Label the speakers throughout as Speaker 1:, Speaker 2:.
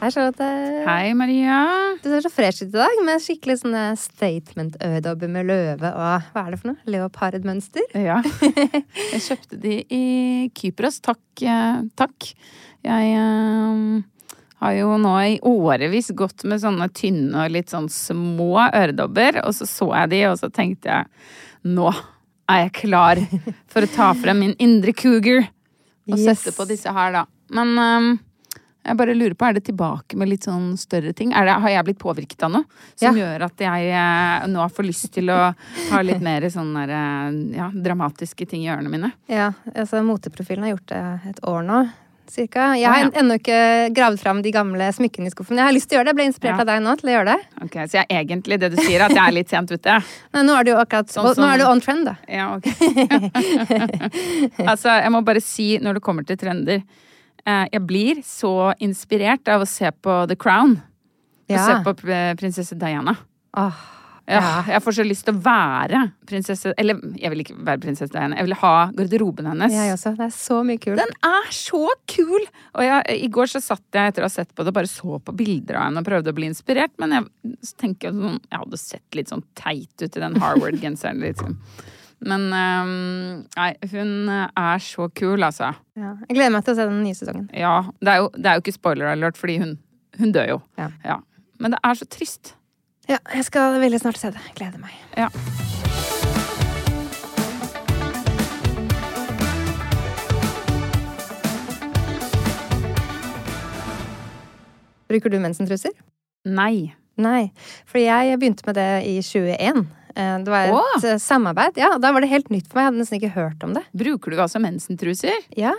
Speaker 1: Hei, Charlotte.
Speaker 2: Hei, Maria.
Speaker 1: Du ser så fresh ut i dag, med skikkelig sånne statement-øredobber med løve og hva er det for noe? Leopardmønster?
Speaker 2: Ja. Jeg kjøpte de i Kypros. Takk. eh, takk. Jeg eh, har jo nå i årevis gått med sånne tynne og litt sånn små øredobber, og så så jeg de, og så tenkte jeg nå er jeg klar for å ta frem min indre cougar og
Speaker 1: Yes.
Speaker 2: sette på disse her, da. Men eh, jeg bare lurer på, er det tilbake med litt sånn større ting? Er det, har jeg blitt påvirket av noe som
Speaker 1: Ja.
Speaker 2: gjør at jeg eh, nå får lyst til å ha litt mer sånn der, eh, ja, dramatiske ting i ørene mine?
Speaker 1: Ja, altså moteprofilen har gjort det et år nå. Cirka. Jeg
Speaker 2: Ah,
Speaker 1: har
Speaker 2: ja.
Speaker 1: ennå ikke gravd fram de gamle smykkene i skuffen. men Jeg har lyst til å gjøre det. Jeg ble inspirert
Speaker 2: Ja.
Speaker 1: av deg nå til å gjøre det.
Speaker 2: Ok, Så jeg er egentlig det du sier, at jeg er litt sent ute?
Speaker 1: Men nå er du jo akkurat
Speaker 2: Sånn som-
Speaker 1: Nå er du on trend, da.
Speaker 2: Ja, ok. altså, jeg må bare si når det kommer til trender eh, Jeg blir så inspirert av å se på The Crown. Og
Speaker 1: Ja.
Speaker 2: se på eh, prinsesse Diana.
Speaker 1: Åh,
Speaker 2: Ja, jeg får så lyst til å være prinsesse Eller jeg vil ikke være prinsesse Diana. Jeg vil ha garderoben hennes.
Speaker 1: jeg også. Det er så mye kult.
Speaker 2: Den er så kul! Og jeg, I går så satt jeg etter å ha sett på det, bare så på bilder av henne og prøvde å bli inspirert, men jeg så tenker jeg sånn Jeg hadde sett litt sånn teit ut i den Harvard-genseren, liksom. Men øhm, nei, hun er så kul, altså.
Speaker 1: Ja. Jeg gleder meg til å se den nye sesongen.
Speaker 2: Ja. Det er jo, det er jo ikke spoiler alert, fordi hun, hun dør jo.
Speaker 1: Ja.
Speaker 2: ja. Men det er så trist.
Speaker 1: Ja, jeg skal veldig snart se det. Gleder meg.
Speaker 2: Ja.
Speaker 1: Bruker du mensentruser?
Speaker 2: Nei.
Speaker 1: Nei, for jeg begynte med det i 21. Eh, Det var et
Speaker 2: Åh!
Speaker 1: eh, samarbeid. Ja, Da var det helt nytt for meg. Jeg hadde nesten ikke hørt om det.
Speaker 2: Bruker du altså mensentruser?
Speaker 1: Ja.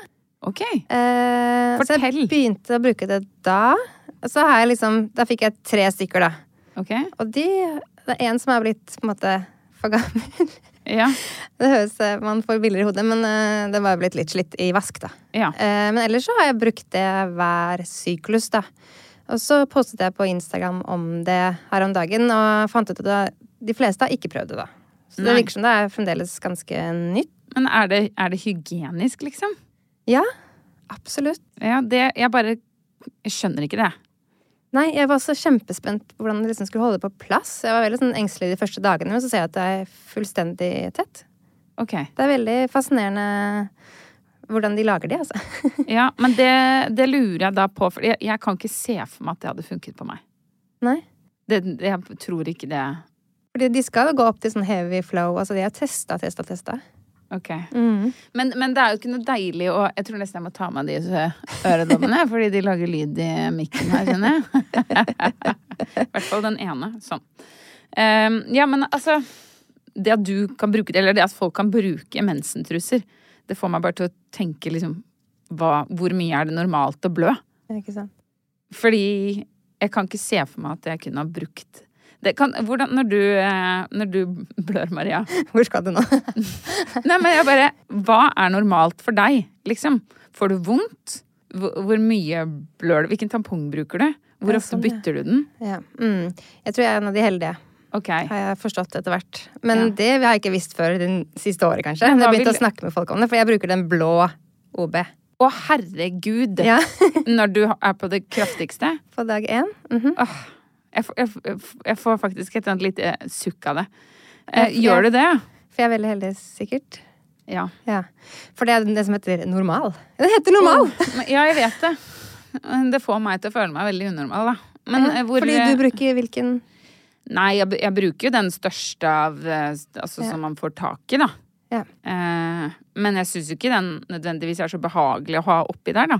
Speaker 2: Ok.
Speaker 1: Eh, så
Speaker 2: Fortell.
Speaker 1: jeg begynte å bruke det da. Så har jeg liksom, Da fikk jeg tre stykker, da.
Speaker 2: Ok.
Speaker 1: Og de Det er en som er blitt på en måte for gammel.
Speaker 2: Ja.
Speaker 1: Det høres eh, Man får bilder i hodet, men eh, den var blitt litt slitt i vask, da.
Speaker 2: ja.
Speaker 1: Eh, Men ellers så har jeg brukt det hver syklus, da. Og så postet jeg på Instagram om det her om dagen, og fant ut at de fleste har ikke prøvd det, da. Så det
Speaker 2: Nei.
Speaker 1: virker som det er fremdeles ganske nytt.
Speaker 2: Men er det, er det hygienisk, liksom?
Speaker 1: Ja, absolutt.
Speaker 2: Ja, det Jeg bare jeg skjønner ikke det.
Speaker 1: Nei, jeg var også kjempespent på hvordan det liksom skulle holde det på plass. Jeg var veldig sånn engstelig de første dagene, men så ser jeg at det er fullstendig tett.
Speaker 2: Ok.
Speaker 1: Det er veldig fascinerende hvordan de lager de, altså.
Speaker 2: Ja, men det, det lurer jeg da på, for jeg, jeg kan ikke se for meg at det hadde funket på meg.
Speaker 1: Nei.
Speaker 2: Det, det- jeg tror ikke det
Speaker 1: Fordi de skal gå opp til sånn heavy flow. Altså, de har testa, testa, testa.
Speaker 2: Ok. Men, men det er jo ikke noe deilig å Jeg tror nesten jeg må ta meg de øredommene, fordi de lager lyd i mikken her, skjønner jeg. I hvert fall den ene. Sånn. Ehm, ja, men altså Det at du kan bruke det, eller det at folk kan bruke mensentruser, det får meg bare til å tenke liksom hva, Hvor mye er det normalt å blø?
Speaker 1: Ikke sant?
Speaker 2: Fordi jeg kan ikke se for meg at jeg kunne ha brukt Det kan, hvordan, når, du, eh, når du blør, Maria
Speaker 1: Hvor skal du nå?
Speaker 2: Nei, men jeg bare Hva er normalt for deg, liksom? Får du vondt? Hvor, hvor mye blør du? Hvilken tampong bruker du? Hvor
Speaker 1: Ja,
Speaker 2: ofte
Speaker 1: sånn, ja.
Speaker 2: bytter du den?
Speaker 1: ja. mm. Jeg tror jeg er en av de heldige,
Speaker 2: Ok.
Speaker 1: har jeg forstått etter hvert. Men
Speaker 2: Ja.
Speaker 1: det har jeg ikke visst før det siste året, kanskje.
Speaker 2: Men
Speaker 1: Når
Speaker 2: hva
Speaker 1: jeg begynte å
Speaker 2: vil-
Speaker 1: snakke med folk om det, for jeg bruker den blå OB.
Speaker 2: Å, herregud!
Speaker 1: Ja.
Speaker 2: når du er på det kraftigste.
Speaker 1: På dag én. Mhm.
Speaker 2: Jeg, får- jeg, får- jeg får faktisk et eller annet lite eh, sukk av det.
Speaker 1: Ja,
Speaker 2: Eh,
Speaker 1: ja.
Speaker 2: gjør du det?
Speaker 1: For jeg er veldig heldig, sikkert.
Speaker 2: Ja.
Speaker 1: Ja. For det er det som heter normal. Den heter normal!
Speaker 2: Men- Ja, jeg vet det. Det får meg til å føle meg veldig unormal, da. Men eh, hvor
Speaker 1: Fordi du bruker hvilken
Speaker 2: Nei, jeg, jeg bruker jo den største av eh, Altså som man får tak i, da.
Speaker 1: Ja.
Speaker 2: Eh, men jeg syns jo ikke den nødvendigvis er så behagelig å ha oppi der, da.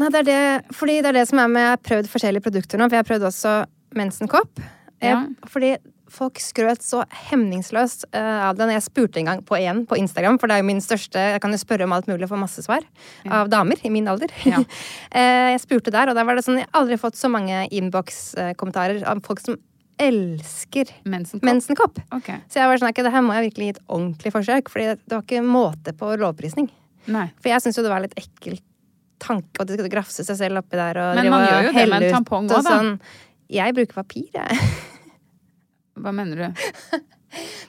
Speaker 1: Nei, det er det, fordi det er det som er med Jeg har prøvd forskjellige produkter nå, for jeg har prøvd også mensenkopp. Jeg,
Speaker 2: Ja.
Speaker 1: Fordi folk skrøt så hemningsløst eh, av den. Jeg spurte en gang på én på Instagram, for det er jo min største Jeg kan jo spørre om alt mulig og få masse svar av damer i min alder.
Speaker 2: Ja.
Speaker 1: Eh, jeg spurte der, og der var det sånn Jeg har aldri fått så mange innbokskommentarer av folk som elsker
Speaker 2: Mensenkopp?
Speaker 1: mensenkopp.
Speaker 2: Ok.
Speaker 1: Så jeg var sånn, ok, det her må jeg virkelig gi et ordentlig forsøk, Fordi det var ikke måte på lovprisning.
Speaker 2: Nei.
Speaker 1: For jeg syns jo det var litt ekkel tanke at de skulle grafse seg selv oppi der og
Speaker 2: Men
Speaker 1: drive
Speaker 2: man
Speaker 1: og
Speaker 2: gjør jo det med en
Speaker 1: helle ut
Speaker 2: tampong
Speaker 1: og
Speaker 2: også, da.
Speaker 1: sånn. Jeg bruker papir, jeg.
Speaker 2: Hva mener du?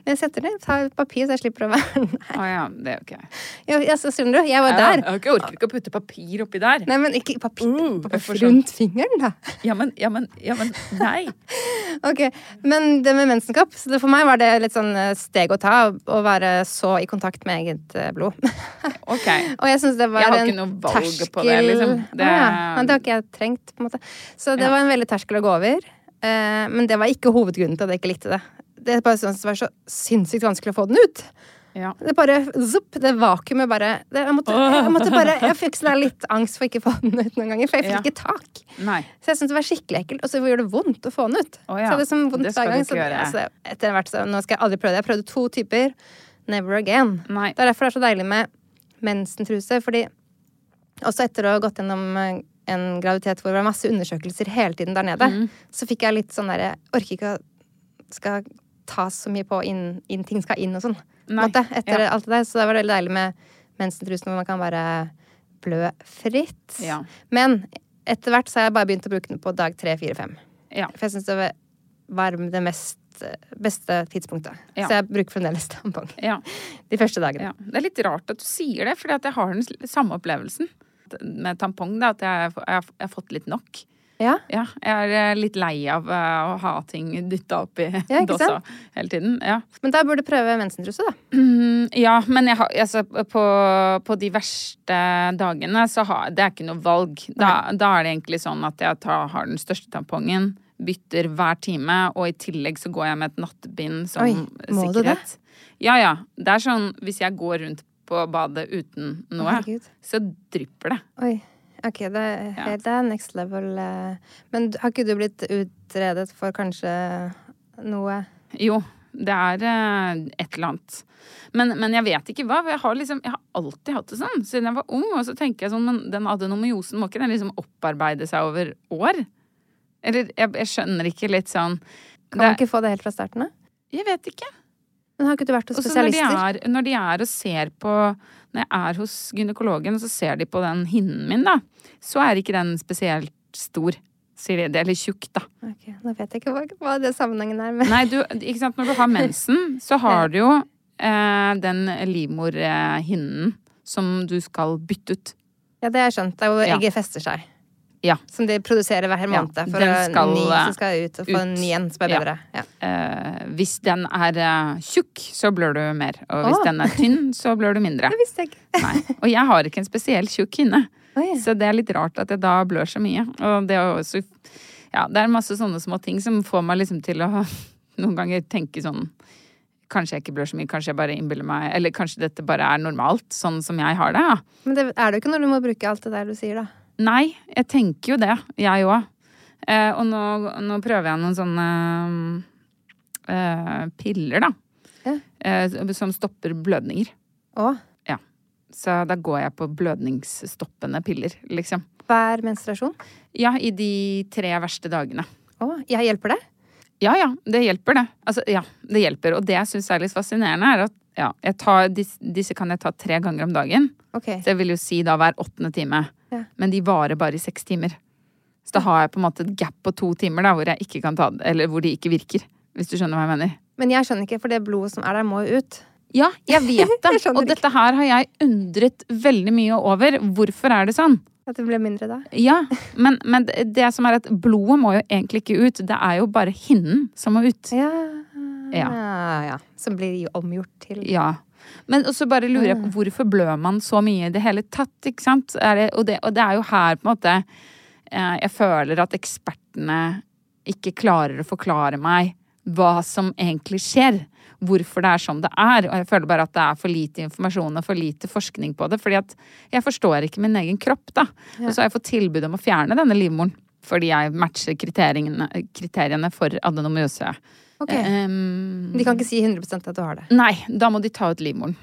Speaker 1: Men jeg setter ned, tar papir, så jeg slipper å være Nei.
Speaker 2: Å ja, det er jo ikke jeg.
Speaker 1: Jo, jeg, så skjønner du, jeg var
Speaker 2: Ja,
Speaker 1: der.
Speaker 2: Jeg orker ikke å putte papir oppi der.
Speaker 1: Nei, men ikke papir
Speaker 2: jeg får
Speaker 1: rundt fingeren, da.
Speaker 2: Ja, men, ja, men, ja, men nei.
Speaker 1: Ok, Men det med mensenkopp så det, For meg var det litt sånn eh, steg å ta. Å være så i kontakt med eget eh, blod.
Speaker 2: Ok.
Speaker 1: Og jeg syns det var
Speaker 2: Jeg har ikke
Speaker 1: en
Speaker 2: noe valg
Speaker 1: terskel
Speaker 2: på det, liksom. Det-
Speaker 1: Å ja. Men det har ikke jeg trengt, på en måte. Så det
Speaker 2: Ja.
Speaker 1: var en veldig terskel å gå over. Eh, men det var ikke hovedgrunnen til at jeg ikke likte det. Det er bare sånn at det var så sinnssykt vanskelig å få den ut.
Speaker 2: Ja.
Speaker 1: Det bare zopp, det vakuumet bare det, jeg, måtte, jeg måtte bare Jeg fikk sånn der litt angst for ikke å få den ut noen ganger, for jeg
Speaker 2: Ja.
Speaker 1: fikk ikke tak.
Speaker 2: Nei.
Speaker 1: Så jeg syntes det var skikkelig ekkelt, og så gjorde det vondt å få den ut.
Speaker 2: Å
Speaker 1: Så
Speaker 2: ja,
Speaker 1: det var sånn vondt
Speaker 2: det skal
Speaker 1: hver
Speaker 2: du
Speaker 1: gang.
Speaker 2: ikke
Speaker 1: Så,
Speaker 2: gjøre.
Speaker 1: altså, etter hvert, så, nå skal jeg aldri prøve det. Jeg prøvde to typer. Never again.
Speaker 2: Nei.
Speaker 1: Det er derfor det er så deilig med mensentruse, fordi også etter å ha gått gjennom eh, en graviditet hvor det var masse undersøkelser hele tiden der nede,
Speaker 2: Mm.
Speaker 1: så fikk jeg litt sånn derre Orker ikke å skal tas så mye på inn, inn ting skal inn og sånn. på en
Speaker 2: Nei,
Speaker 1: Måte, etter
Speaker 2: ja.
Speaker 1: alt det der. Så det var veldig deilig med mensentrusen hvor man kan bare blø fritt.
Speaker 2: Ja.
Speaker 1: Men etter hvert så har jeg bare begynt å bruke den på dag tre, fire, fem.
Speaker 2: Ja.
Speaker 1: For jeg syns det var det mest, beste tidspunktet.
Speaker 2: Ja.
Speaker 1: Så jeg bruker fremdeles tampong.
Speaker 2: Ja.
Speaker 1: De første dagene.
Speaker 2: ja. Det er litt rart at du sier det, for jeg har den s- samme opplevelsen med tampong. Da, at jeg, jeg, har- jeg har fått litt nok.
Speaker 1: Ja.
Speaker 2: Ja, jeg er eh, litt lei av eh, å ha ting dytta opp i
Speaker 1: Ja, ikke
Speaker 2: dåsa
Speaker 1: sant?
Speaker 2: hele tiden. Ja.
Speaker 1: Men da burde du prøve mensentruse, da.
Speaker 2: Mm, ja, men jeg har, altså, på, på de verste dagene så har Det er ikke noe valg. Da, da er det egentlig sånn at jeg tar, har den største tampongen, bytter hver time, og i tillegg så går jeg med et nattbind som
Speaker 1: Oi, må du det?
Speaker 2: sikkerhet. Ja, ja. Det er sånn hvis jeg går rundt på badet uten noe,
Speaker 1: Herregud.
Speaker 2: så drypper det.
Speaker 1: Oi. Ok, det er, helt- det er next level. eh. Men du- har ikke du blitt utredet for kanskje noe
Speaker 2: Jo, det er eh, et eller annet. Men, men jeg vet ikke hva. for Jeg har, liksom, jeg har alltid hatt det sånn siden jeg var ung. Og så tenker jeg sånn, men den adenomyosen må ikke den liksom opparbeide seg over år? Eller jeg, jeg skjønner ikke litt sånn
Speaker 1: Kan man
Speaker 2: Det-
Speaker 1: ikke få det helt fra starten av?
Speaker 2: Jeg vet ikke.
Speaker 1: Men har ikke du vært hos
Speaker 2: Og så når, de
Speaker 1: spesialister?
Speaker 2: er- når de er og ser på Når jeg er hos gynekologen, og så ser de på den hinnen min, da, så er ikke den spesielt stor, sier de. Eller tjukk, da.
Speaker 1: Ok, nå vet jeg ikke hva, hva det sammenhengen er med
Speaker 2: Nei, du, ikke sant, når du har mensen, så har du jo eh, den livmorhinnen som du skal bytte ut.
Speaker 1: Ja, det har jeg skjønt. Det er hvor
Speaker 2: Ja.
Speaker 1: egget fester seg.
Speaker 2: Ja.
Speaker 1: Som de produserer hver
Speaker 2: Ja,
Speaker 1: måned for
Speaker 2: den
Speaker 1: å
Speaker 2: skal,
Speaker 1: ny
Speaker 2: eh,
Speaker 1: som skal ut, og få en
Speaker 2: ut.
Speaker 1: ny en som er
Speaker 2: Ja.
Speaker 1: bedre. Ja.
Speaker 2: Eh, hvis den er eh, tjukk, så blør du mer. Og hvis
Speaker 1: Å.
Speaker 2: den er tynn, så blør du mindre.
Speaker 1: Det visste jeg ikke.
Speaker 2: Nei. Og jeg har ikke en spesielt tjukk hinne.
Speaker 1: Oi.
Speaker 2: Så det er litt rart at jeg da blør så mye. Og det er jo også Ja, det er masse sånne små ting som får meg liksom til å noen ganger tenke sånn Kanskje jeg ikke blør så mye, kanskje jeg bare innbiller meg Eller kanskje dette bare er normalt, sånn som jeg har det. Ja.
Speaker 1: Men det er det jo ikke når du må bruke alt det der du sier, da.
Speaker 2: Nei, jeg tenker jo det, jeg òg. Eh, og nå, nå prøver jeg noen sånne mm, eh, piller, da.
Speaker 1: Ja.
Speaker 2: Eh, som stopper blødninger.
Speaker 1: Å,
Speaker 2: Ja. Så da går jeg på blødningsstoppende piller, liksom.
Speaker 1: hver menstruasjon.
Speaker 2: Ja, i de tre verste dagene.
Speaker 1: Å, jeg hjelper det?
Speaker 2: Ja ja, det hjelper, det. Altså, ja, det hjelper. Og det jeg syns er litt fascinerende, er at ja, jeg tar, disse, disse kan jeg ta tre ganger om dagen.
Speaker 1: Ok.
Speaker 2: Så jeg vil jo si da hver åttende time.
Speaker 1: Ja.
Speaker 2: Men de varer bare i seks timer. Så da har jeg på en måte et gap på to timer da, hvor jeg ikke kan ta det, eller hvor de ikke virker. Hvis du skjønner hva jeg mener.
Speaker 1: Men jeg skjønner ikke, for det blodet som er der, må jo ut.
Speaker 2: Ja, jeg vet det.
Speaker 1: Jeg skjønner
Speaker 2: og dette her har jeg undret veldig mye over. Hvorfor er det sånn?
Speaker 1: At det ble mindre da.
Speaker 2: Ja, men, men det- det som er at blodet må jo egentlig ikke ut. Det er jo bare hinnen som må ut.
Speaker 1: Ja.
Speaker 2: Ja.
Speaker 1: ja. Som blir jo omgjort til
Speaker 2: Ja. Men også bare lurer jeg på hvorfor blør man så mye i det hele tatt, ikke sant? Er det, og, det, og det er jo her på en måte eh, jeg føler at ekspertene ikke klarer å forklare meg hva som egentlig skjer. Hvorfor det er sånn det er. Og jeg føler bare at det er for lite informasjon og for lite forskning på det. Fordi at jeg forstår ikke min egen kropp, da. Og så har jeg fått tilbud om å fjerne denne livmoren. Fordi jeg matcher kriteriene, kriteriene for adenomyose.
Speaker 1: Ok.
Speaker 2: Um,
Speaker 1: De kan ikke si 100 at du har det.
Speaker 2: Nei, da må de ta ut livmoren.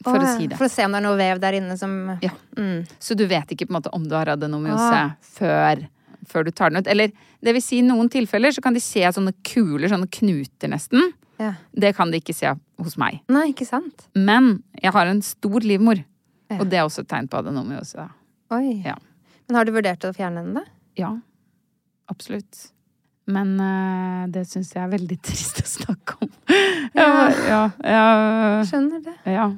Speaker 2: For
Speaker 1: Å,
Speaker 2: å
Speaker 1: ja.
Speaker 2: si det.
Speaker 1: For å se om det er noe vev der inne som
Speaker 2: Ja.
Speaker 1: Mm.
Speaker 2: Så du vet ikke på en måte om du har adenomyose
Speaker 1: Ah.
Speaker 2: før, før du tar den ut. Eller det vil si, i noen tilfeller så kan de se sånne kuler, sånne knuter nesten.
Speaker 1: ja.
Speaker 2: Det kan de ikke se hos meg.
Speaker 1: Nei, ikke sant?
Speaker 2: Men jeg har en stor livmor.
Speaker 1: Ja.
Speaker 2: Og det er også et tegn på adenomyose. da.
Speaker 1: Oi.
Speaker 2: Ja.
Speaker 1: Men har du vurdert å fjerne den, da?
Speaker 2: Ja, absolutt. Men eh, det syns jeg er veldig trist å snakke om.
Speaker 1: Ja.
Speaker 2: ja, ja.
Speaker 1: Skjønner det.
Speaker 2: Ja.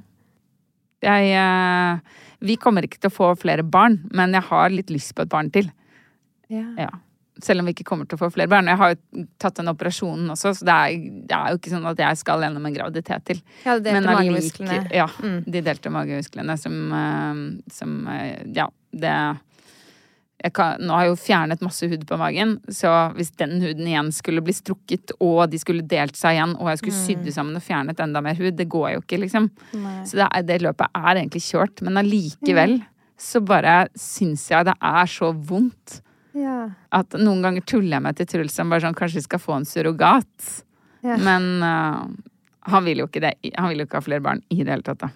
Speaker 2: Jeg eh, Vi kommer ikke til å få flere barn, men jeg har litt lyst på et barn til.
Speaker 1: Ja.
Speaker 2: Ja. Selv om vi ikke kommer til å få flere barn. Jeg har jo tatt den operasjonen også, så det er, det er jo ikke sånn at jeg skal gjennom en graviditet til.
Speaker 1: Ja, det delte
Speaker 2: Men allike-
Speaker 1: magemusklene.
Speaker 2: Ja,
Speaker 1: Mm.
Speaker 2: de delte magemusklene som, eh, som eh, Ja, det jeg kan, nå har jeg jo fjernet masse hud på magen, så hvis den huden igjen skulle bli strukket, og de skulle delt seg igjen, og jeg skulle
Speaker 1: Mm.
Speaker 2: sydd sammen og fjernet enda mer hud, det går jo ikke, liksom. Så det, er, det løpet er egentlig kjørt, men allikevel så bare syns jeg det er så vondt
Speaker 1: Ja.
Speaker 2: at noen ganger tuller jeg meg til Truls som bare sånn Kanskje vi skal få en surrogat?
Speaker 1: Ja.
Speaker 2: Men eh, han vil jo ikke det. Han vil jo ikke ha flere barn i det hele tatt, da.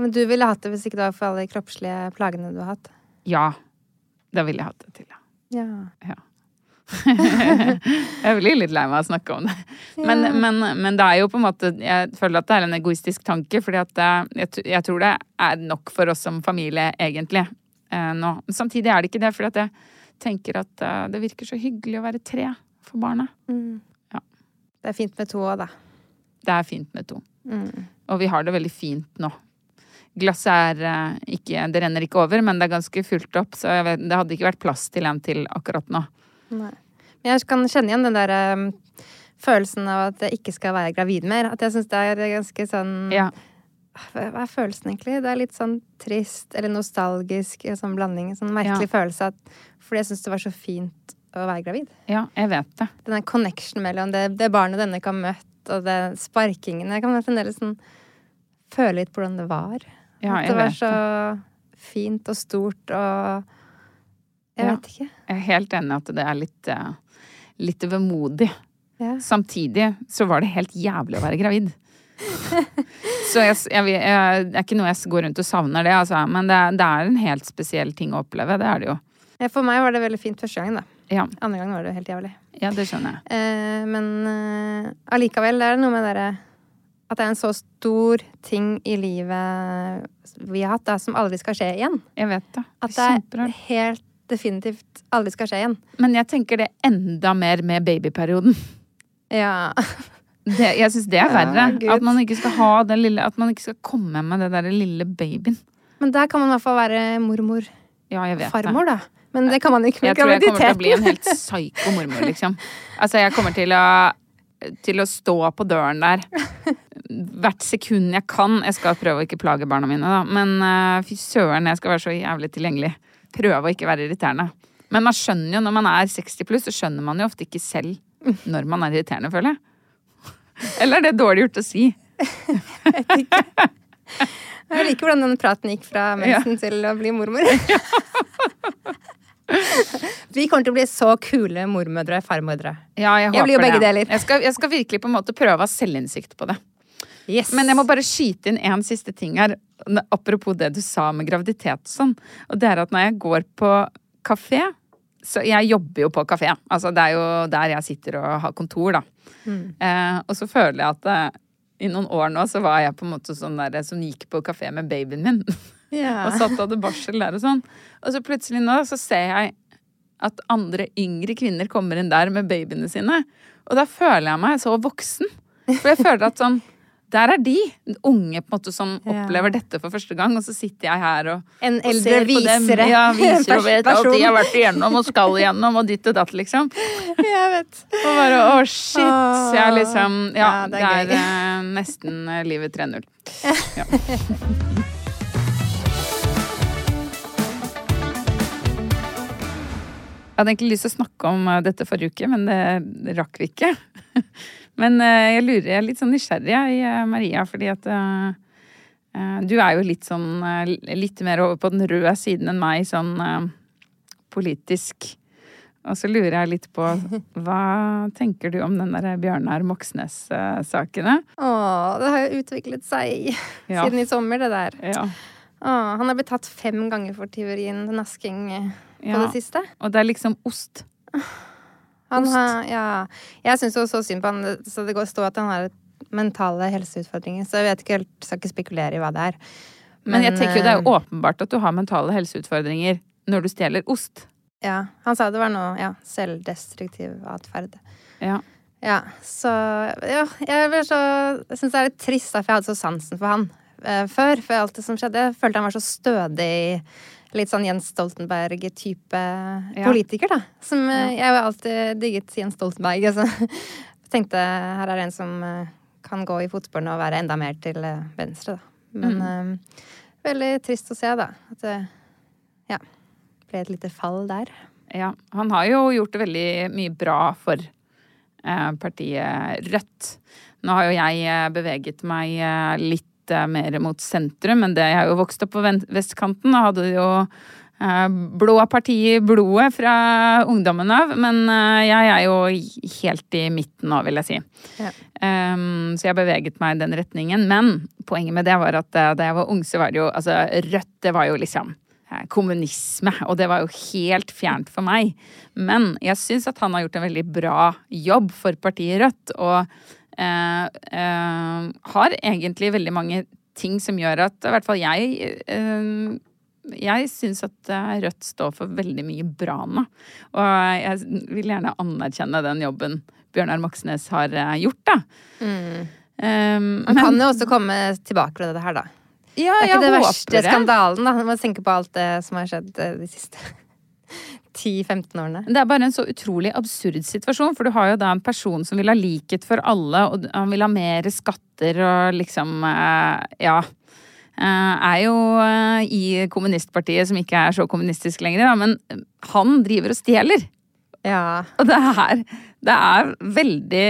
Speaker 1: Men du ville hatt det hvis ikke det var for alle de kroppslige plagene du har hatt.
Speaker 2: Ja, da ville jeg hatt det til, ja.
Speaker 1: Ja.
Speaker 2: Ja. jeg blir litt lei meg av å snakke om det. Men, men, men det er jo på en måte Jeg føler at det er en egoistisk tanke, fordi at det- jeg, tr- jeg tror det er nok for oss som familie, egentlig, eh, nå. Men samtidig er det ikke det, fordi at jeg tenker at eh, det virker så hyggelig å være tre for barna.
Speaker 1: Det er fint med to òg, da.
Speaker 2: Det er fint med to.
Speaker 1: Mm.
Speaker 2: Og vi har det veldig fint nå. Glasset er eh, ikke Det renner ikke over, men det er ganske fullt opp, så jeg vet, det hadde ikke vært plass til en til akkurat nå.
Speaker 1: Mm. Nei. Men jeg kan kjenne igjen den der um, følelsen av at jeg ikke skal være gravid mer. At jeg syns det er ganske sånn ah,
Speaker 2: Ja.
Speaker 1: hva hva er følelsen egentlig? Det er litt sånn trist eller nostalgisk en sånn blanding. En sånn merkelig følelse at Fordi jeg syns det var så fint å være gravid.
Speaker 2: ja, jeg vet det.
Speaker 1: Den der connection mellom det, det barnet denne ikke har møtt, og det sparkingen Jeg kan fremdeles sånn føle litt på hvordan det var. At
Speaker 2: Ja, jeg
Speaker 1: det var
Speaker 2: vet
Speaker 1: så fint og stort og Jeg
Speaker 2: Ja.
Speaker 1: vet ikke.
Speaker 2: Jeg er helt enig at det er litt, eh, litt vemodig.
Speaker 1: Ja.
Speaker 2: Samtidig så var det helt jævlig å være gravid. så jeg, s- jeg, vil- jeg, det er ikke noe jeg s- går rundt og savner det, altså. Men det, er- det er en helt spesiell ting å oppleve. Det er det jo.
Speaker 1: Ja, For meg var det veldig fint første gangen, da.
Speaker 2: Ja,
Speaker 1: Andre gangen var det jo helt jævlig.
Speaker 2: ja det skjønner jeg.
Speaker 1: Eh, men eh, allikevel det er det noe med dere At det er en så stor ting i livet vi har hatt, da, som aldri skal skje igjen.
Speaker 2: Jeg vet det.
Speaker 1: At det
Speaker 2: Kjemperart.
Speaker 1: er helt definitivt aldri skal skje igjen.
Speaker 2: Men jeg tenker det enda mer med babyperioden.
Speaker 1: Ja.
Speaker 2: Det, jeg syns det er verre.
Speaker 1: Gud.
Speaker 2: at man ikke skal ha den lille At man ikke skal komme med det derre lille babyen.
Speaker 1: Men der kan man i hvert fall være mormor.
Speaker 2: Ja, jeg vet
Speaker 1: Farmor, da. Men det kan man ikke
Speaker 2: det.
Speaker 1: med
Speaker 2: Jeg tror jeg kommer til å bli en
Speaker 1: graviditeten.
Speaker 2: helt psyko mormor, liksom. Altså, jeg kommer til å til å stå på døren der hvert sekund jeg kan. Jeg skal prøve å ikke plage barna mine, da. Men eh, fy søren, jeg skal være så jævlig tilgjengelig. Prøve å ikke være irriterende. Men man skjønner jo når man er 60 pluss, så skjønner man jo ofte ikke selv når man er irriterende, føler jeg. Eller er det dårlig gjort å si?
Speaker 1: Jeg liker hvordan den praten gikk fra mensen til å bli mormor. vi kommer til å bli så kule mormødre og farmødre.
Speaker 2: Ja, jeg,
Speaker 1: Jeg blir jo
Speaker 2: håper
Speaker 1: begge
Speaker 2: det.
Speaker 1: deler.
Speaker 2: Jeg skal, jeg skal virkelig på en måte prøve å ha selvinnsikt på det.
Speaker 1: Yes.
Speaker 2: Men jeg må bare skyte inn en siste ting her. n- Apropos det du sa med graviditet og sånn. Og det er at når jeg går på kafé så jeg jobber jo på kafé. Altså, det er jo der jeg sitter og har kontor, da. Eh, og så føler jeg at eh, i noen år nå så var jeg på en måte sånn der som gikk på kafé med babyen min.
Speaker 1: Ja.
Speaker 2: og satt og hadde barsel der og sånn. Og så plutselig nå så ser jeg at andre yngre kvinner kommer inn der med babyene sine. Og da føler jeg meg så voksen. For jeg føler at sånn Der er de unge på en måte som
Speaker 1: Ja.
Speaker 2: opplever dette for første gang, og så sitter jeg her og
Speaker 1: En
Speaker 2: og
Speaker 1: eldre
Speaker 2: ser på dem.
Speaker 1: visere.
Speaker 2: Ja, viser og vet alt de
Speaker 1: Person.
Speaker 2: har vært igjennom og skal igjennom og ditt og datt, liksom.
Speaker 1: Jeg vet.
Speaker 2: Og bare å, shit! Så jeg liksom Ja,
Speaker 1: Ah. Ja, det
Speaker 2: det
Speaker 1: er
Speaker 2: er,
Speaker 1: gøy.
Speaker 2: eh, nesten eh, livet 3-0. Ja. Jeg hadde egentlig lyst til å snakke om eh, dette forrige uke, men det rakk vi ikke. Men eh, jeg lurer, jeg er litt sånn nysgjerrig, jeg, eh, Maria, fordi at eh, eh, du er jo litt sånn eh, Litt mer over på den røde siden enn meg, sånn eh, politisk. Og så lurer jeg litt på Hva tenker du om den der Bjørnar eh, Moxnes-sakene?
Speaker 1: Å, det har jo utviklet seg
Speaker 2: Ja.
Speaker 1: siden i sommer, det der.
Speaker 2: Ja.
Speaker 1: Å, han har blitt tatt fem ganger for tyverien til nasking eh, på
Speaker 2: Ja.
Speaker 1: det siste.
Speaker 2: Og det er liksom ost.
Speaker 1: Han har, ja. Jeg syns jo så synd på han, så det går står at han har mentale helseutfordringer. Så jeg vet ikke helt, skal ikke spekulere i hva det er.
Speaker 2: Men eh, jeg tenker jo det er jo åpenbart at du har mentale helseutfordringer når du stjeler ost.
Speaker 1: eh, Ja, han sa det var noe ja, selvdestruktiv atferd.
Speaker 2: Ja.
Speaker 1: Ja, så Ja, jeg, blir så, jeg syns det er litt trist, da, for jeg hadde så sansen for han eh, før. For alt det som skjedde. Jeg følte han var så stødig. Litt sånn Jens Stoltenberg-type politiker, da. Som eh, Jeg har alltid digget Jens Stoltenberg. Altså. Jeg tenkte her er det en som eh, kan gå i fotsporene og være enda mer til eh, venstre, da. Men eh, veldig trist å se, da. At det ja, ble et lite fall der.
Speaker 2: ja. Han har jo gjort det veldig mye bra for eh, partiet Rødt. Nå har jo jeg eh, beveget meg eh, litt eh, mer mot sentrum, men det jeg har jo vokst opp på ven- vestkanten og hadde jo eh, blå parti i blodet fra ungdommen av. Men eh, jeg er jo i- helt i midten nå, vil jeg si.
Speaker 1: Ja.
Speaker 2: Ehm, så jeg beveget meg i den retningen. Men poenget med det var at eh, da jeg var ung, så var det jo altså, Rødt, det var jo liksom eh, kommunisme. Og det var jo helt fjernt for meg. Men jeg syns at han har gjort en veldig bra jobb for partiet Rødt. Og eh, eh, har egentlig veldig mange ting som gjør at i hvert fall jeg eh, jeg syns at eh, Rødt står for veldig mye bra nå. Og jeg vil gjerne anerkjenne den jobben Bjørnar Moxnes har eh, gjort, da. Mm. Eh,
Speaker 1: Han
Speaker 2: men-
Speaker 1: kan jo også komme tilbake fra det her, da. Det
Speaker 2: ja,
Speaker 1: er
Speaker 2: jeg
Speaker 1: ikke det
Speaker 2: håper
Speaker 1: verste
Speaker 2: det.
Speaker 1: skandalen, da. Man må tenke på alt det som har skjedd eh, de siste 10-15 årene.
Speaker 2: Det er bare en så utrolig absurd situasjon, for du har jo da en person som vil ha likhet for alle, og han vil ha mer skatter og liksom eh, Ja. Eh, Er jo eh, i kommunistpartiet, som ikke er så kommunistisk lenger, da, men eh, han driver og stjeler.
Speaker 1: Ja.
Speaker 2: Og det er, det er veldig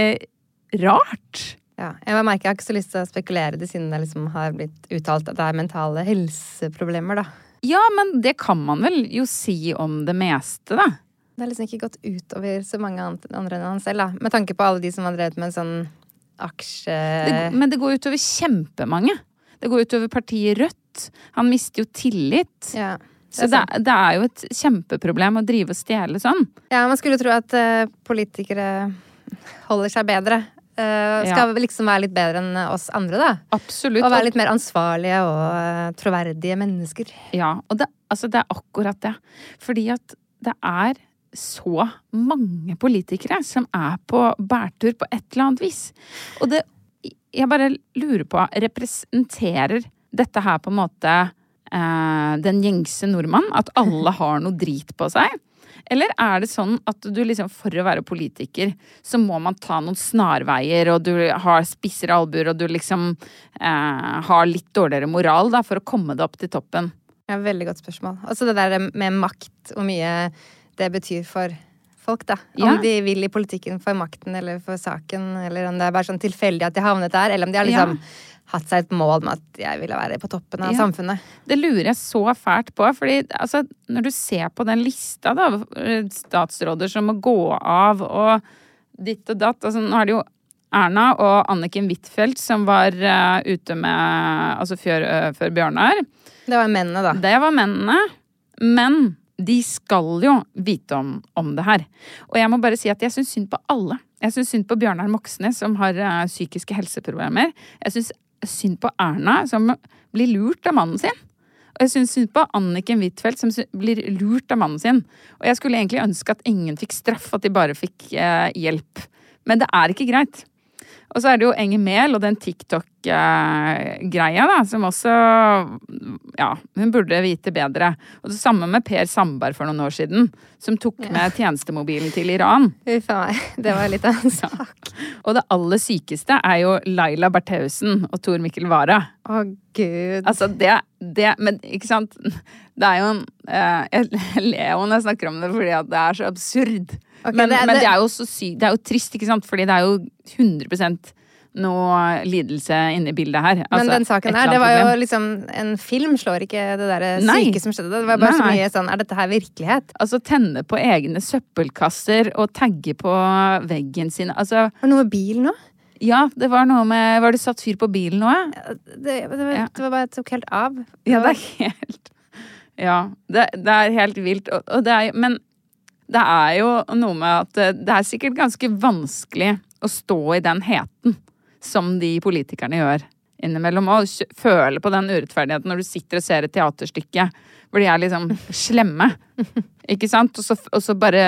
Speaker 2: rart.
Speaker 1: ja. Jeg bare merker jeg har ikke så lyst til å spekulere i det, siden det liksom har blitt uttalt at det er mentale helseproblemer, da.
Speaker 2: Ja, men det kan man vel jo si om det meste, da.
Speaker 1: Det har liksom ikke gått utover så mange an- andre enn han selv, da. Med tanke på alle de som har drevet med sånn aksje...
Speaker 2: det, men det går utover kjempemange. Det går utover partiet Rødt. Han mister jo tillit.
Speaker 1: Ja. sånn.
Speaker 2: Så det, er- det er jo et kjempeproblem å drive og stjele sånn.
Speaker 1: Ja, man skulle jo tro at eh, politikere holder seg bedre. Eh, skal
Speaker 2: Ja.
Speaker 1: liksom være litt bedre enn oss andre, da.
Speaker 2: Absolutt.
Speaker 1: Og være litt mer ansvarlige og eh, troverdige mennesker.
Speaker 2: Ja, og det, altså det er akkurat det. Fordi at det er så mange politikere som er på bærtur på et eller annet vis. Og det Jeg bare lurer på Representerer dette her på en måte eh, den gjengse nordmann? At alle har noe drit på seg? Eller er det sånn at du liksom for å være politiker, så må man ta noen snarveier, og du har spisser albuer, og du liksom eh, har litt dårligere moral da, for å komme deg opp til toppen?
Speaker 1: Ja, veldig godt spørsmål. Også Altså det der med makt, hvor mye det betyr for folk, da. Om
Speaker 2: Ja.
Speaker 1: de vil i politikken for makten eller for saken, eller om det er bare sånn tilfeldig at de havnet der, eller om de har liksom hatt seg et mål med at jeg ville være på toppen av
Speaker 2: Ja.
Speaker 1: samfunnet.
Speaker 2: Det lurer jeg så fælt på. fordi altså, Når du ser på den lista da, av eh, statsråder som må gå av og ditt og datt altså, Nå er det jo Erna og Anniken Huitfeldt som var eh, ute med Altså før, eh, før Bjørnar.
Speaker 1: Det var mennene, da.
Speaker 2: Det var mennene. Men de skal jo vite om, om det her. Og jeg må bare si at jeg syns synd på alle. Jeg syns synd på Bjørnar Moxnes, som har eh, psykiske helseproblemer. Jeg syns synd på Erna, som blir lurt av mannen sin. Og jeg syns synd på Anniken Huitfeldt, som sy- blir lurt av mannen sin. Og jeg skulle egentlig ønske at ingen fikk straff, at de bare fikk eh, hjelp. Men det er ikke greit. Og så er det jo Enger Mehl og den TikTok-greia, da, som også Ja, hun burde vite bedre. Og det samme med Per Sandberg for noen år siden, som tok med tjenestemobilen til Iran.
Speaker 1: Uff a meg. Det var litt av en sak.
Speaker 2: Og det aller sykeste er jo Laila Bertheussen og Tor Mikkel Wara.
Speaker 1: Å, gud.
Speaker 2: Altså, det, det Men ikke sant? Det er jo en eh, Jeg ler jo når jeg snakker om det, fordi at det er så absurd.
Speaker 1: Ok,
Speaker 2: men,
Speaker 1: det-
Speaker 2: men det
Speaker 1: det-
Speaker 2: er jo så sykt Det er jo trist, ikke sant? Fordi det er jo 100 noe lidelse inni bildet her.
Speaker 1: Men
Speaker 2: Altså,
Speaker 1: den saken
Speaker 2: et
Speaker 1: der,
Speaker 2: eller
Speaker 1: det var
Speaker 2: annet
Speaker 1: jo
Speaker 2: problem.
Speaker 1: liksom En film slår ikke det derre
Speaker 2: Nei.
Speaker 1: syke som skjedde. Det var bare så
Speaker 2: Nei.
Speaker 1: mye sånn Er dette her virkelighet?
Speaker 2: Altså tenne på egne søppelkasser og tagge på veggen sin. Altså,
Speaker 1: Var det noe med bilen òg?
Speaker 2: ja, det var noe med Var det satt fyr på bilen òg?
Speaker 1: Det, det, var-
Speaker 2: Ja.
Speaker 1: det var bare tok helt av.
Speaker 2: Ja, det er helt Ja, det, det er helt vilt. Og, og det er, men det er jo noe med at eh, det er sikkert ganske vanskelig å stå i den heten som de politikerne gjør innimellom. Og kj- føle på den urettferdigheten når du sitter og ser et teaterstykke hvor de er liksom slemme. Ikke sant? Og så, og så bare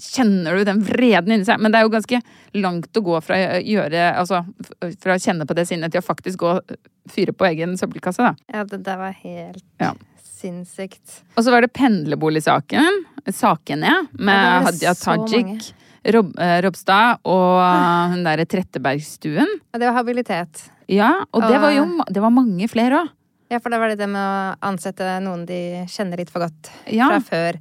Speaker 2: kjenner du den vreden inni seg. Men det er jo ganske langt å gå fra å gjøre Altså f- fra å kjenne på det sinnet til å faktisk gå og fyre på egen søppelkasse, da.
Speaker 1: Ja, det der var helt
Speaker 2: Ja.
Speaker 1: sinnssykt.
Speaker 2: Og så var det pendlerboligsaken. Sakene, ja. Med
Speaker 1: Ja, det var det
Speaker 2: Hadia
Speaker 1: så mange. Ah.
Speaker 2: Tajik, Rob, eh, Robstad og eh, hun derre Trettebergstuen.
Speaker 1: Og det var habilitet.
Speaker 2: Ja, og det
Speaker 1: Og-
Speaker 2: var jo ma- det var mange flere òg.
Speaker 1: Ja, for da var det det med å ansette noen de kjenner litt for godt
Speaker 2: Ja.
Speaker 1: fra før.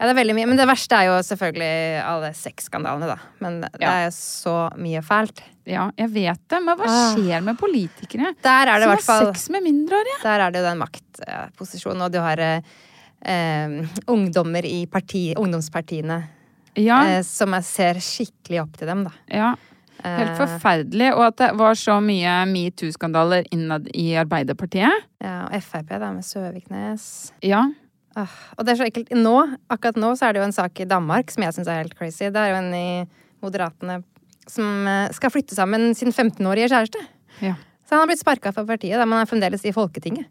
Speaker 1: Ja, det er veldig mye. Men det verste er jo selvfølgelig alle sexskandalene, da. Men det
Speaker 2: Ja.
Speaker 1: er jo så mye fælt.
Speaker 2: Ja, jeg vet det, men hva
Speaker 1: Ah.
Speaker 2: skjer med politikere
Speaker 1: Der er det i
Speaker 2: som
Speaker 1: hvert fall
Speaker 2: har sex med mindreårige?
Speaker 1: Der er det jo den maktposisjonen, og du har eh, eh, ungdommer i parti, ungdomspartiene
Speaker 2: Ja,
Speaker 1: eh, som jeg ser skikkelig opp til dem, da.
Speaker 2: ja.
Speaker 1: eh.
Speaker 2: Helt forferdelig. Og at det var så mye metoo-skandaler innad i Arbeiderpartiet.
Speaker 1: Ja, og Frp, da, med Søviknes.
Speaker 2: Ja.
Speaker 1: Åh, Ah, og det er så ekkelt. Nå, akkurat nå så er det jo en sak i Danmark som jeg syns er helt crazy. Det er jo en i Moderatene som eh, skal flytte sammen sin 15-årige kjæreste.
Speaker 2: ja.
Speaker 1: Så han har blitt sparka fra partiet, da, men han er fremdeles i Folketinget.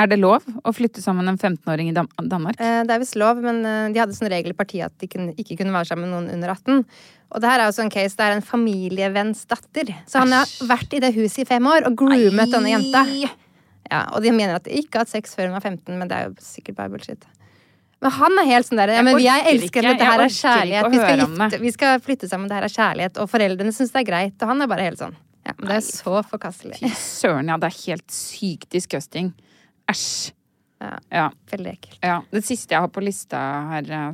Speaker 2: Er det lov å flytte sammen en 15-åring i Dan Danmark?
Speaker 1: Eh, Det er visst lov, men eh, de hadde sånn regel i partiet at de kunne, ikke kunne være sammen med noen under 18. Og det her er jo sånn case, det er en familievenns datter. Så han har vært i det huset i fem år og groomet denne jenta. Ja, og de mener at de ikke har hatt sex før hun var 15, men det er jo sikkert bare bullshit. Men han er helt sånn der, ja, men
Speaker 2: Jeg
Speaker 1: jeg
Speaker 2: orker
Speaker 1: elsker
Speaker 2: ikke,
Speaker 1: at dette
Speaker 2: jeg
Speaker 1: her er
Speaker 2: orker ikke
Speaker 1: kjærlighet.
Speaker 2: å
Speaker 1: Vi skal,
Speaker 2: høre om det.
Speaker 1: gifte, vi skal flytte sammen, det her er kjærlighet. Og foreldrene syns det er greit. Og han er bare helt sånn. Ja, men det er så forkastelig.
Speaker 2: Fy søren, ja. Det er helt sykt disgusting. Æsj.
Speaker 1: Ja.
Speaker 2: Ja,
Speaker 1: Veldig ekkelt.
Speaker 2: ja. Det siste jeg har på lista her eh,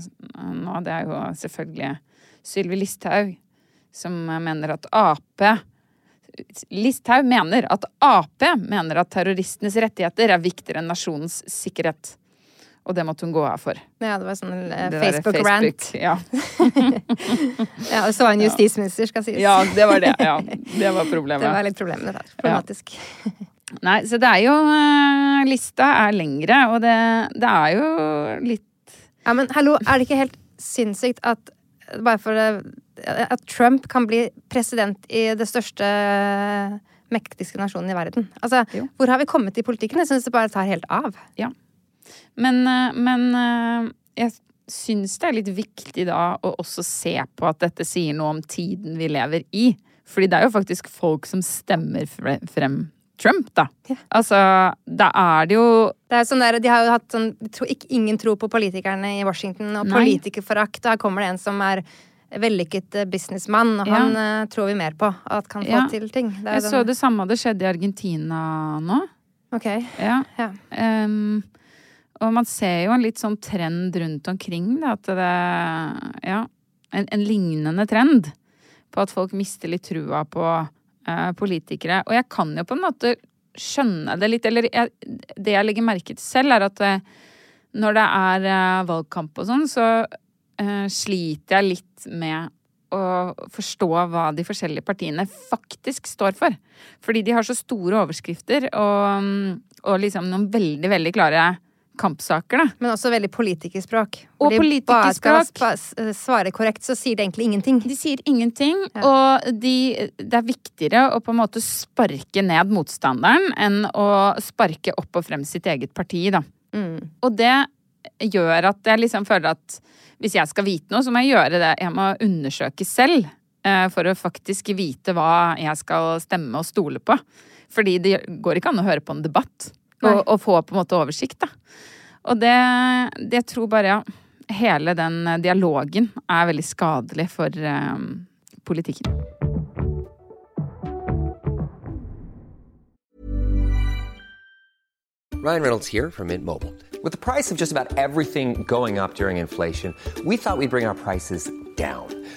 Speaker 2: nå, det er jo selvfølgelig Sylvi Listhaug, som eh, mener at Ap Listhaug mener at Ap mener at terroristenes rettigheter er viktigere enn nasjonens sikkerhet. Og det måtte hun gå av for.
Speaker 1: Ja, det var sånn eh,
Speaker 2: Det derre
Speaker 1: Facebook-rant.
Speaker 2: Facebook, Ja.
Speaker 1: Ja, og så var han justisminister, skal sies.
Speaker 2: ja, det var det. Ja, det var problemet.
Speaker 1: Det var litt problemene der. Problematisk.
Speaker 2: Nei, så det er jo eh, Lista er lengre, og det, det er jo litt
Speaker 1: Ja, men hallo, er det ikke helt sinnssykt at bare for det, at Trump kan bli president i det største mektigste nasjonen i verden? Altså,
Speaker 2: Jo.
Speaker 1: hvor har vi kommet i politikken? Jeg syns det bare tar helt av.
Speaker 2: Men, eh, men eh, jeg syns det er litt viktig da å også se på at dette sier noe om tiden vi lever i. Fordi det er jo faktisk folk som stemmer fre- frem Trump, da. Altså, da er det jo
Speaker 1: Det er jo sånn der, de har jo hatt sånn de tror ikke, Ingen tro på politikerne i Washington, og
Speaker 2: Nei.
Speaker 1: politikerforakt. Og her kommer det en som er vellykket eh, businessmann, og
Speaker 2: Ja.
Speaker 1: han eh, tror vi mer på at kan få
Speaker 2: Ja.
Speaker 1: til ting. Det er sånn,
Speaker 2: Jeg
Speaker 1: jo
Speaker 2: så
Speaker 1: den-
Speaker 2: det samme hadde skjedd i Argentina nå.
Speaker 1: Ok.
Speaker 2: Ja.
Speaker 1: Ja.
Speaker 2: Ehm, og man ser jo en litt sånn trend rundt omkring, da, at det Ja. En, en lignende trend på at folk mister litt trua på eh, politikere. Og jeg kan jo på en måte skjønne det litt, eller jeg, det jeg legger merke til selv, er at eh, når det er eh, valgkamp og sånn, så eh, sliter jeg litt med å forstå hva de forskjellige partiene faktisk står for. Fordi de har så store overskrifter og, mm, og liksom noen veldig, veldig klare kampsaker, da.
Speaker 1: Men også veldig politikerspråk.
Speaker 2: Og
Speaker 1: Hvor de bare skal
Speaker 2: politikerspråk.
Speaker 1: spa- s- svare korrekt, så sier det egentlig ingenting.
Speaker 2: De sier ingenting, og de, det er viktigere å på en måte sparke ned motstanderen enn å sparke opp og frem sitt eget parti, da. Og det gjør at jeg liksom føler at hvis jeg skal vite noe, så må jeg gjøre det. Jeg må undersøke selv eh, for å faktisk vite hva jeg skal stemme og stole på. Fordi det går ikke an å høre på en debatt og, og få på en måte oversikt, da. Og det, det jeg tror bare ja, hele den eh, dialogen er veldig skadelig for eh, politikken.
Speaker 3: Ryan Reynolds here from Mint Mobile. With the price of just about everything going up during inflation, we thought we'd bring our prices down.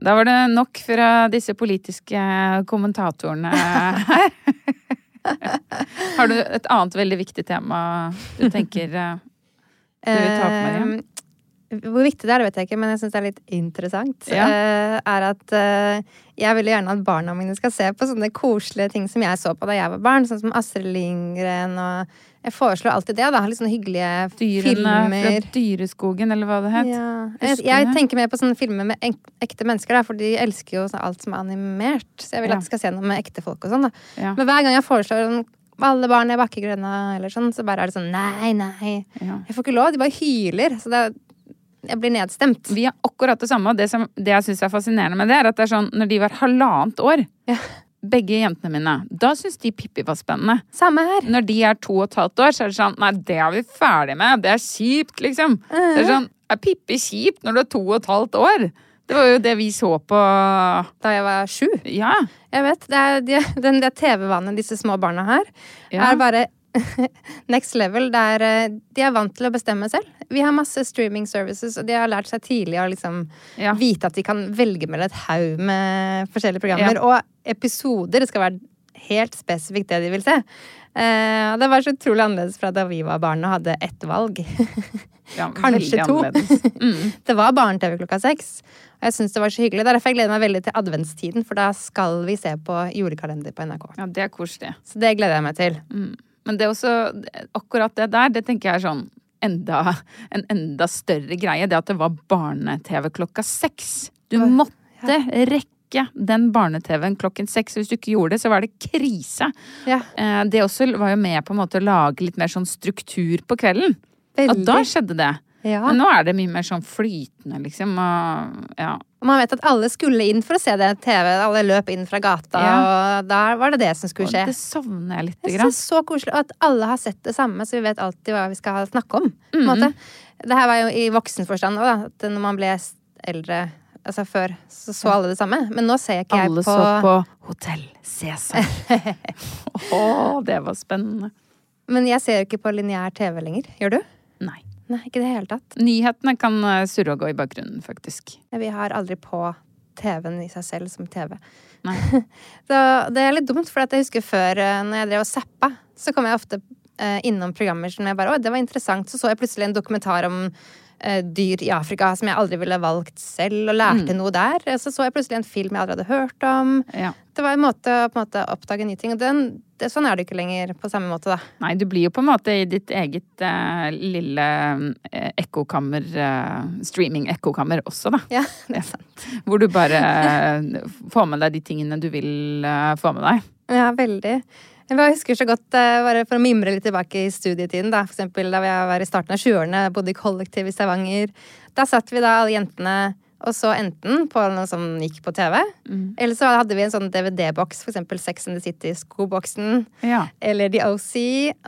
Speaker 2: Da var det nok fra disse politiske kommentatorene her. Har du et annet veldig viktig tema du tenker eh, du vil ta opp, Maria?
Speaker 1: Eh, Hvor viktig det er, det vet jeg ikke, men jeg syns det er litt interessant.
Speaker 2: Ja.
Speaker 1: Eh, er at eh, jeg vil jo gjerne at barna mine skal se på sånne koselige ting som jeg så på da jeg var barn. Sånn som Astrid Lindgren og Jeg foreslår alltid det, da. Litt sånne hyggelige
Speaker 2: Dyrene
Speaker 1: filmer.
Speaker 2: fra Dyreskogen, eller hva det het.
Speaker 1: Ja.
Speaker 2: Husker
Speaker 1: Jeg,
Speaker 2: du
Speaker 1: jeg
Speaker 2: det?
Speaker 1: tenker mer på sånne filmer med ek ekte mennesker, da, for de elsker jo sånn alt som er animert. Så jeg vil
Speaker 2: Ja.
Speaker 1: at de skal se noe med ekte folk og sånn. da.
Speaker 2: Ja.
Speaker 1: Men hver gang jeg foreslår sånn, alle barn er bakkegrønne, eller sånn, så bare er det sånn nei, nei.
Speaker 2: Ja.
Speaker 1: Jeg får ikke lov. De bare hyler. Så det er, jeg blir nedstemt.
Speaker 2: Vi har akkurat det samme, og det, som, det jeg syns er fascinerende med det, er at det er sånn når de var halvannet år, begge jentene mine, da syns de Pippi var spennende.
Speaker 1: Samme her.
Speaker 2: Når de er to og et halvt år, så er det sånn Nei, det er vi ferdig med. Det er kjipt, liksom. Det er
Speaker 1: Mhm.
Speaker 2: sånn Er Pippi kjipt når du er to og et halvt år? Det var jo det vi så på
Speaker 1: Da jeg var sju.
Speaker 2: Ja.
Speaker 1: Jeg vet. Det er, de, den, det TV-vanen disse små barna her,
Speaker 2: Ja.
Speaker 1: er bare next level. Det er, eh, de er vant til å bestemme selv. Vi har masse streaming services, og de har lært seg tidlig å liksom
Speaker 2: Ja.
Speaker 1: vite at de kan velge mellom et haug med forskjellige programmer.
Speaker 2: Ja.
Speaker 1: Og episoder skal være helt spesifikt det de vil se. Eh, og det var så utrolig annerledes fra da vi var barn og hadde ett valg.
Speaker 2: ja
Speaker 1: Kanskje
Speaker 2: veldig
Speaker 1: to.
Speaker 2: annerledes. Mm,
Speaker 1: Det var barne-TV klokka seks. Og jeg syns det var så hyggelig. Det er Derfor jeg gleder meg veldig til adventstiden, for da skal vi se på julekalender på NRK.
Speaker 2: Ja, det er koselig.
Speaker 1: Så det gleder jeg meg til.
Speaker 2: Men det er også Akkurat det der, det tenker jeg er sånn enda, en enda større greie. Det at det var barne-TV klokka seks. Du måtte rekke den barne-TV-en klokken seks. Hvis du ikke gjorde det, så var det krise.
Speaker 1: Ja.
Speaker 2: Eh, Det også var jo med på en måte å lage litt mer sånn struktur på kvelden. At
Speaker 1: Veldig.
Speaker 2: da skjedde det.
Speaker 1: Ja.
Speaker 2: Men nå er det mye mer sånn flytende, liksom. Og, ja.
Speaker 1: Og man vet at alle skulle inn for å se det TV. Alle løp inn fra gata,
Speaker 2: Ja.
Speaker 1: og da var det det som skulle
Speaker 2: og
Speaker 1: skje.
Speaker 2: det savner jeg lite
Speaker 1: Jeg synes det
Speaker 2: grann.
Speaker 1: er så koselig at alle har sett det samme, så vi vet alltid hva vi skal snakke om. på en måte. Det her var jo i voksen forstand òg, da. At når man ble s- eldre Altså før så så alle det samme. Men nå ser jeg ikke
Speaker 2: Alle
Speaker 1: jeg på,
Speaker 2: så på Hotell Cæsar. Å, det var spennende.
Speaker 1: Men jeg ser jo ikke på lineær TV lenger. Gjør du?
Speaker 2: Nei.
Speaker 1: Nei, ikke i det hele tatt.
Speaker 2: Nyhetene kan eh, surre og gå i bakgrunnen, faktisk.
Speaker 1: Vi har aldri på TV-en i seg selv som TV.
Speaker 2: Nei.
Speaker 1: Så det er litt dumt, for at jeg husker før, eh, når jeg drev og zappa, så kom jeg ofte eh, innom programmer som jeg bare Å, det var interessant. Så så jeg plutselig en dokumentar om eh, dyr i Afrika som jeg aldri ville valgt selv, og lærte noe der. Eh, Så så jeg plutselig en film jeg aldri hadde hørt om.
Speaker 2: Ja.
Speaker 1: Det var en måte å på en måte, oppdage nye ting. Og den, det, sånn er det ikke lenger på samme måte, da.
Speaker 2: Nei, du blir jo på en måte i ditt eget eh, lille eh, ekkokammer, eh, streaming-ekkokammer også, da.
Speaker 1: Ja, det er sant.
Speaker 2: Hvor du bare eh, får med deg de tingene du vil eh, få med deg.
Speaker 1: Ja, veldig. Jeg bare husker så godt, eh, bare for å mimre litt tilbake i studietiden, da. For eksempel da jeg var i starten av 20-årene, bodde i kollektiv i Stavanger. Da satt vi da, alle jentene, og så enten på noe som gikk på TV,
Speaker 2: Mm.
Speaker 1: eller så hadde vi en sånn DVD-boks, for eksempel Sex and the City-skoboksen,
Speaker 2: Ja.
Speaker 1: eller The OC,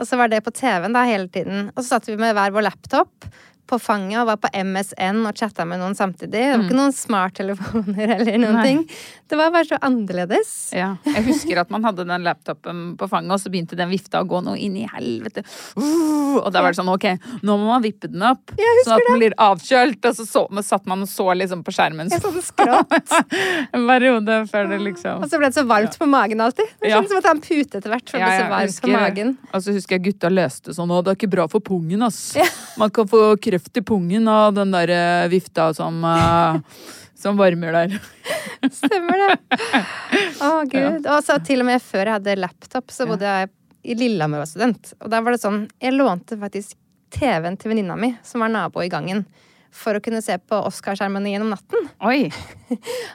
Speaker 1: og så var det på TV-en da hele tiden. Og så satt vi med hver vår laptop på fanget og var på MSN og chatta med noen samtidig. Det var ikke noen smarttelefoner eller noen
Speaker 2: Mm. Nei.
Speaker 1: ting. Det var bare så annerledes.
Speaker 2: Ja. Jeg husker at man hadde den laptopen på fanget, og så begynte den vifta å gå noe inn i helvete. Uh, og da var det sånn, ok, nå må man vippe den opp,
Speaker 1: jeg
Speaker 2: sånn at den blir avkjølt. Og så, så men satt man og så liksom på skjermen
Speaker 1: Jeg satt og skrått.
Speaker 2: en periode før det liksom
Speaker 1: Og så ble det så varmt på magen alltid. Det
Speaker 2: Ja.
Speaker 1: var sånn som å ta en pute etter hvert. for det ble så varmt på magen.
Speaker 2: Og så husker jeg gutta løste sånn, og det er ikke bra for pungen, ass. Man kan få kreft i pungen av den der eh, vifta som, eh, som varmer der.
Speaker 1: Stemmer det. Å, gud. Og så til og med før jeg hadde laptop, så bodde jeg i Lillehammer og var student. Og der var det sånn Jeg lånte faktisk TV-en til venninna mi, som var nabo i gangen, for å kunne se på Oscarskjermene gjennom natten.
Speaker 2: Oi,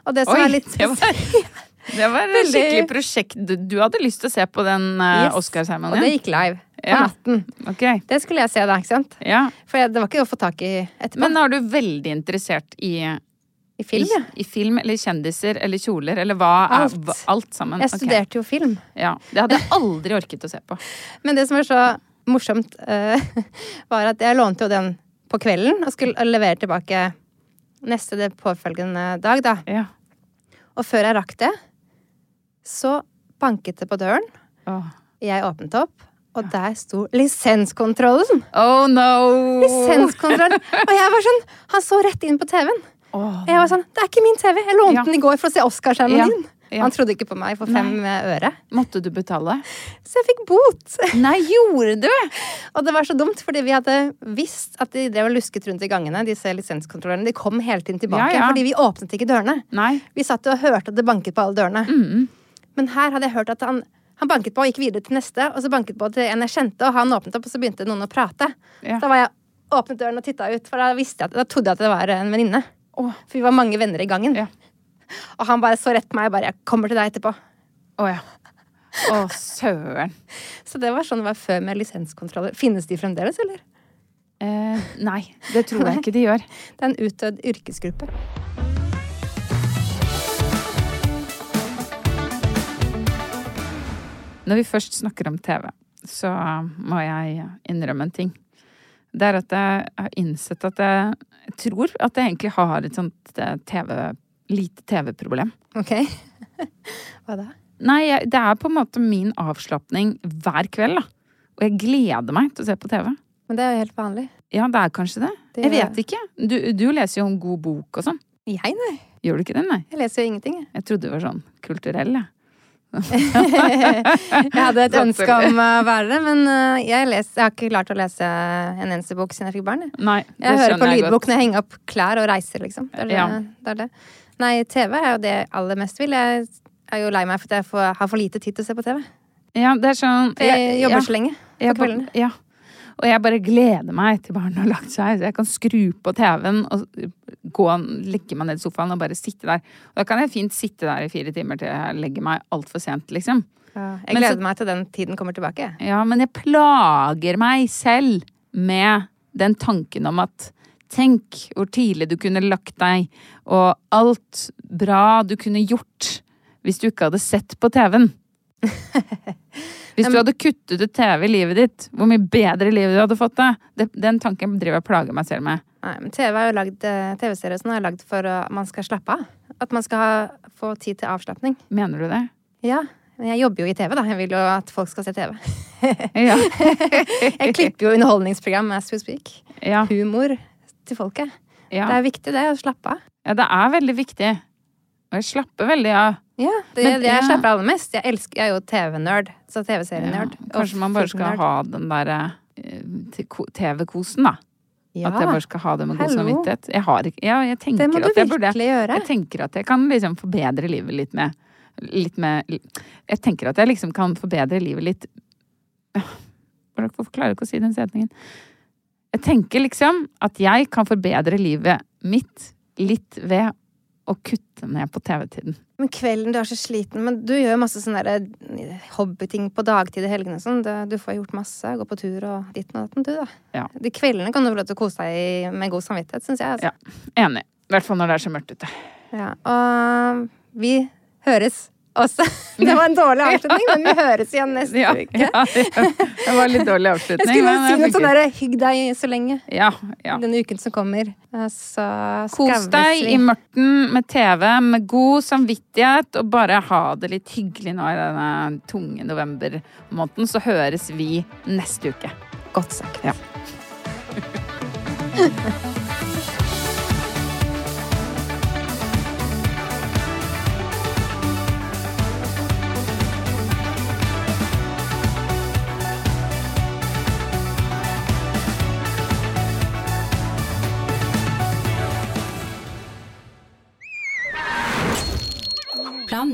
Speaker 1: Og det som
Speaker 2: oi,
Speaker 1: er litt
Speaker 2: det var... Det var et
Speaker 1: Veldig-
Speaker 2: skikkelig prosjekt. Du- Du hadde lyst til å se på den uh,
Speaker 1: Yes. Og det
Speaker 2: Oscar-seremonien?
Speaker 1: gikk live på
Speaker 2: Ja.
Speaker 1: natten.
Speaker 2: Ok,
Speaker 1: Det skulle jeg se da, ikke sant?
Speaker 2: ja.
Speaker 1: For jeg, det var ikke å få tak i etterpå.
Speaker 2: Men er du veldig interessert i,
Speaker 1: I film, ja.
Speaker 2: i, i film eller kjendiser eller kjoler eller hva er
Speaker 1: Alt.
Speaker 2: hva- alt sammen?
Speaker 1: Jeg
Speaker 2: Ok.
Speaker 1: studerte jo film.
Speaker 2: Ja, Det hadde jeg aldri orket å se på.
Speaker 1: Men det som var så morsomt, eh, var at jeg lånte jo den på kvelden og skulle levere tilbake neste det påfølgende dag, da.
Speaker 2: Ja.
Speaker 1: Og før jeg rakk det, så banket det på døren.
Speaker 2: Åh.
Speaker 1: Jeg åpnet opp, og der sto lisenskontrollen!
Speaker 2: Oh no!
Speaker 1: Lisenskontrollen! Og jeg var sånn Han så rett inn på TV-en.
Speaker 2: Åh,
Speaker 1: Jeg var sånn Det er ikke min TV! Jeg lånte
Speaker 2: Ja.
Speaker 1: den i går for å se Oscarskjermen
Speaker 2: Ja.
Speaker 1: din!
Speaker 2: Ja.
Speaker 1: Han trodde ikke på meg for fem eh, øre.
Speaker 2: måtte du betale?
Speaker 1: Så jeg fikk bot!
Speaker 2: Nei, gjorde du?
Speaker 1: Og det var så dumt, fordi vi hadde visst at de drev og lusket rundt i gangene. disse lisenskontrollørene. De kom hele tiden tilbake,
Speaker 2: Ja, ja.
Speaker 1: fordi vi åpnet ikke dørene.
Speaker 2: Nei.
Speaker 1: Vi satt jo og hørte at det banket på alle dørene.
Speaker 2: Mm.
Speaker 1: Men her hadde jeg hørt at han, han banket på og gikk videre til neste, og så banket på til en jeg kjente, og han åpnet opp, og så begynte noen å prate.
Speaker 2: Ja.
Speaker 1: Da var jeg åpnet døren og titta ut, for da, visste jeg at, da trodde jeg at det var en venninne.
Speaker 2: Åh.
Speaker 1: For vi var mange venner i gangen.
Speaker 2: Ja.
Speaker 1: Og han bare så rett på meg og bare 'Jeg kommer til deg etterpå'.
Speaker 2: Å ja. Å, søren.
Speaker 1: Så det var sånn det var før med lisenskontroller. Finnes de fremdeles, eller?
Speaker 2: Eh, nei, det tror jeg ikke de gjør.
Speaker 1: Det er en utdødd yrkesgruppe.
Speaker 2: Når vi først snakker om TV, så må jeg innrømme en ting. Det er at jeg har innsett at jeg, jeg tror at jeg egentlig har et sånt eh, TV, lite TV-problem.
Speaker 1: Ok. Hva da?
Speaker 2: Nei, jeg, det er på en måte min avslapning hver kveld, da. Og jeg gleder meg til å se på TV.
Speaker 1: Men det er jo helt vanlig.
Speaker 2: Ja, det er kanskje det.
Speaker 1: Det-
Speaker 2: Jeg vet ikke. Du, du leser jo en god bok og sånn.
Speaker 1: Jeg, nei.
Speaker 2: Gjør du ikke det, nei?
Speaker 1: Jeg leser jo ingenting. jeg.
Speaker 2: Jeg trodde du var sånn kulturell, jeg.
Speaker 1: Jeg hadde et
Speaker 2: Satser
Speaker 1: ønske om å være det, men øh, jeg, les, jeg har ikke klart å lese en eneste bok siden jeg fikk barn. Jeg,
Speaker 2: Nei, det
Speaker 1: jeg hører på
Speaker 2: skjønner jeg
Speaker 1: lydbok
Speaker 2: godt.
Speaker 1: når jeg henger opp klær og reiser, liksom. Det er det,
Speaker 2: Ja.
Speaker 1: det er det. Nei, TV er jo det jeg aller mest vil. Jeg er jo lei meg for at jeg får, har for lite tid til å se på TV.
Speaker 2: Ja, det er sånn
Speaker 1: For jeg jobber så lenge på
Speaker 2: jeg ba-
Speaker 1: kveldene.
Speaker 2: Ja. Og jeg bare gleder meg til barna har lagt seg, så jeg kan skru på TV-en og gå legge meg ned i sofaen og bare sitte der. Og da kan jeg fint sitte der i fire timer til jeg legger meg altfor sent, liksom.
Speaker 1: Jeg
Speaker 2: Men
Speaker 1: gleder
Speaker 2: så-
Speaker 1: meg til den tiden kommer tilbake. jeg.
Speaker 2: Ja, men jeg plager meg selv med den tanken om at Tenk hvor tidlig du kunne lagt deg, og alt bra du kunne gjort hvis du ikke hadde sett på TV-en. Hvis du hadde kuttet ut TV i livet ditt, hvor mye bedre livet du hadde fått det. Det- Den tanken driver jeg og plager meg selv med.
Speaker 1: Nei, men TV er jo lagd, øh, TV-serier som er lagd for at man skal slappe av. At man skal ha, få tid til avslapning.
Speaker 2: Mener du det?
Speaker 1: Ja, men jeg jobber jo i TV, da. Jeg vil jo at folk skal se TV.
Speaker 2: Ja.
Speaker 1: Jeg klipper jo underholdningsprogram as we speak.
Speaker 2: Ja.
Speaker 1: Humor til folket. Det
Speaker 2: ja.
Speaker 1: er viktig, det. Å slappe av.
Speaker 2: ja, det er veldig viktig. Og jeg slapper veldig av.
Speaker 1: Ja, det,
Speaker 2: Men-
Speaker 1: det jeg
Speaker 2: ja.
Speaker 1: slapper aller mest. Jeg, elsker, jeg er jo TV-nerd. Så TV-serienerd.
Speaker 2: Ja, Kanskje man bare skal ha den der eh, t- ko- TV-kosen, da.
Speaker 1: ja.
Speaker 2: At jeg bare skal ha det med god
Speaker 1: Hallo.
Speaker 2: samvittighet. Jeg har ikke Ja, jeg tenker
Speaker 1: Det må du
Speaker 2: at jeg burde
Speaker 1: virkelig gjøre.
Speaker 2: Jeg tenker at jeg kan liksom forbedre livet litt med Litt med Jeg tenker at jeg liksom kan forbedre livet litt Hvordan- Hvorfor klarer jeg ikke å si den setningen? Jeg tenker liksom at jeg kan forbedre livet mitt litt ved å kutte ned på TV-tiden.
Speaker 1: Men kvelden, du er så sliten. Men du gjør jo masse sånne der eh, hobbyting på dagtid i helgene og sånn. Det- Du får gjort masse. Gå på tur og ditten og datten, du, da.
Speaker 2: Ja.
Speaker 1: De kveldene kan du få lov til å kose deg i med god samvittighet, syns jeg. Altså.
Speaker 2: Ja. Enig. I hvert fall når det er så mørkt ute.
Speaker 1: Ja. Og vi høres også. Det var en dårlig avslutning, men vi høres igjen neste
Speaker 2: Ja,
Speaker 1: uke.
Speaker 2: ja, det var litt dårlig
Speaker 1: Jeg
Speaker 2: avslutning.
Speaker 1: skulle bare
Speaker 2: men
Speaker 1: si
Speaker 2: det
Speaker 1: noe
Speaker 2: funker.
Speaker 1: sånn derre hygg deg så lenge.
Speaker 2: Ja, ja.
Speaker 1: Denne uken som kommer. Eh, Så
Speaker 2: Kos
Speaker 1: skravles
Speaker 2: deg
Speaker 1: vi.
Speaker 2: i mørten med TV, med god samvittighet, og bare ha det litt hyggelig nå i denne tunge novembermåneden. Så høres vi neste uke.
Speaker 1: Godt sagt.
Speaker 2: Ja.
Speaker 4: Plan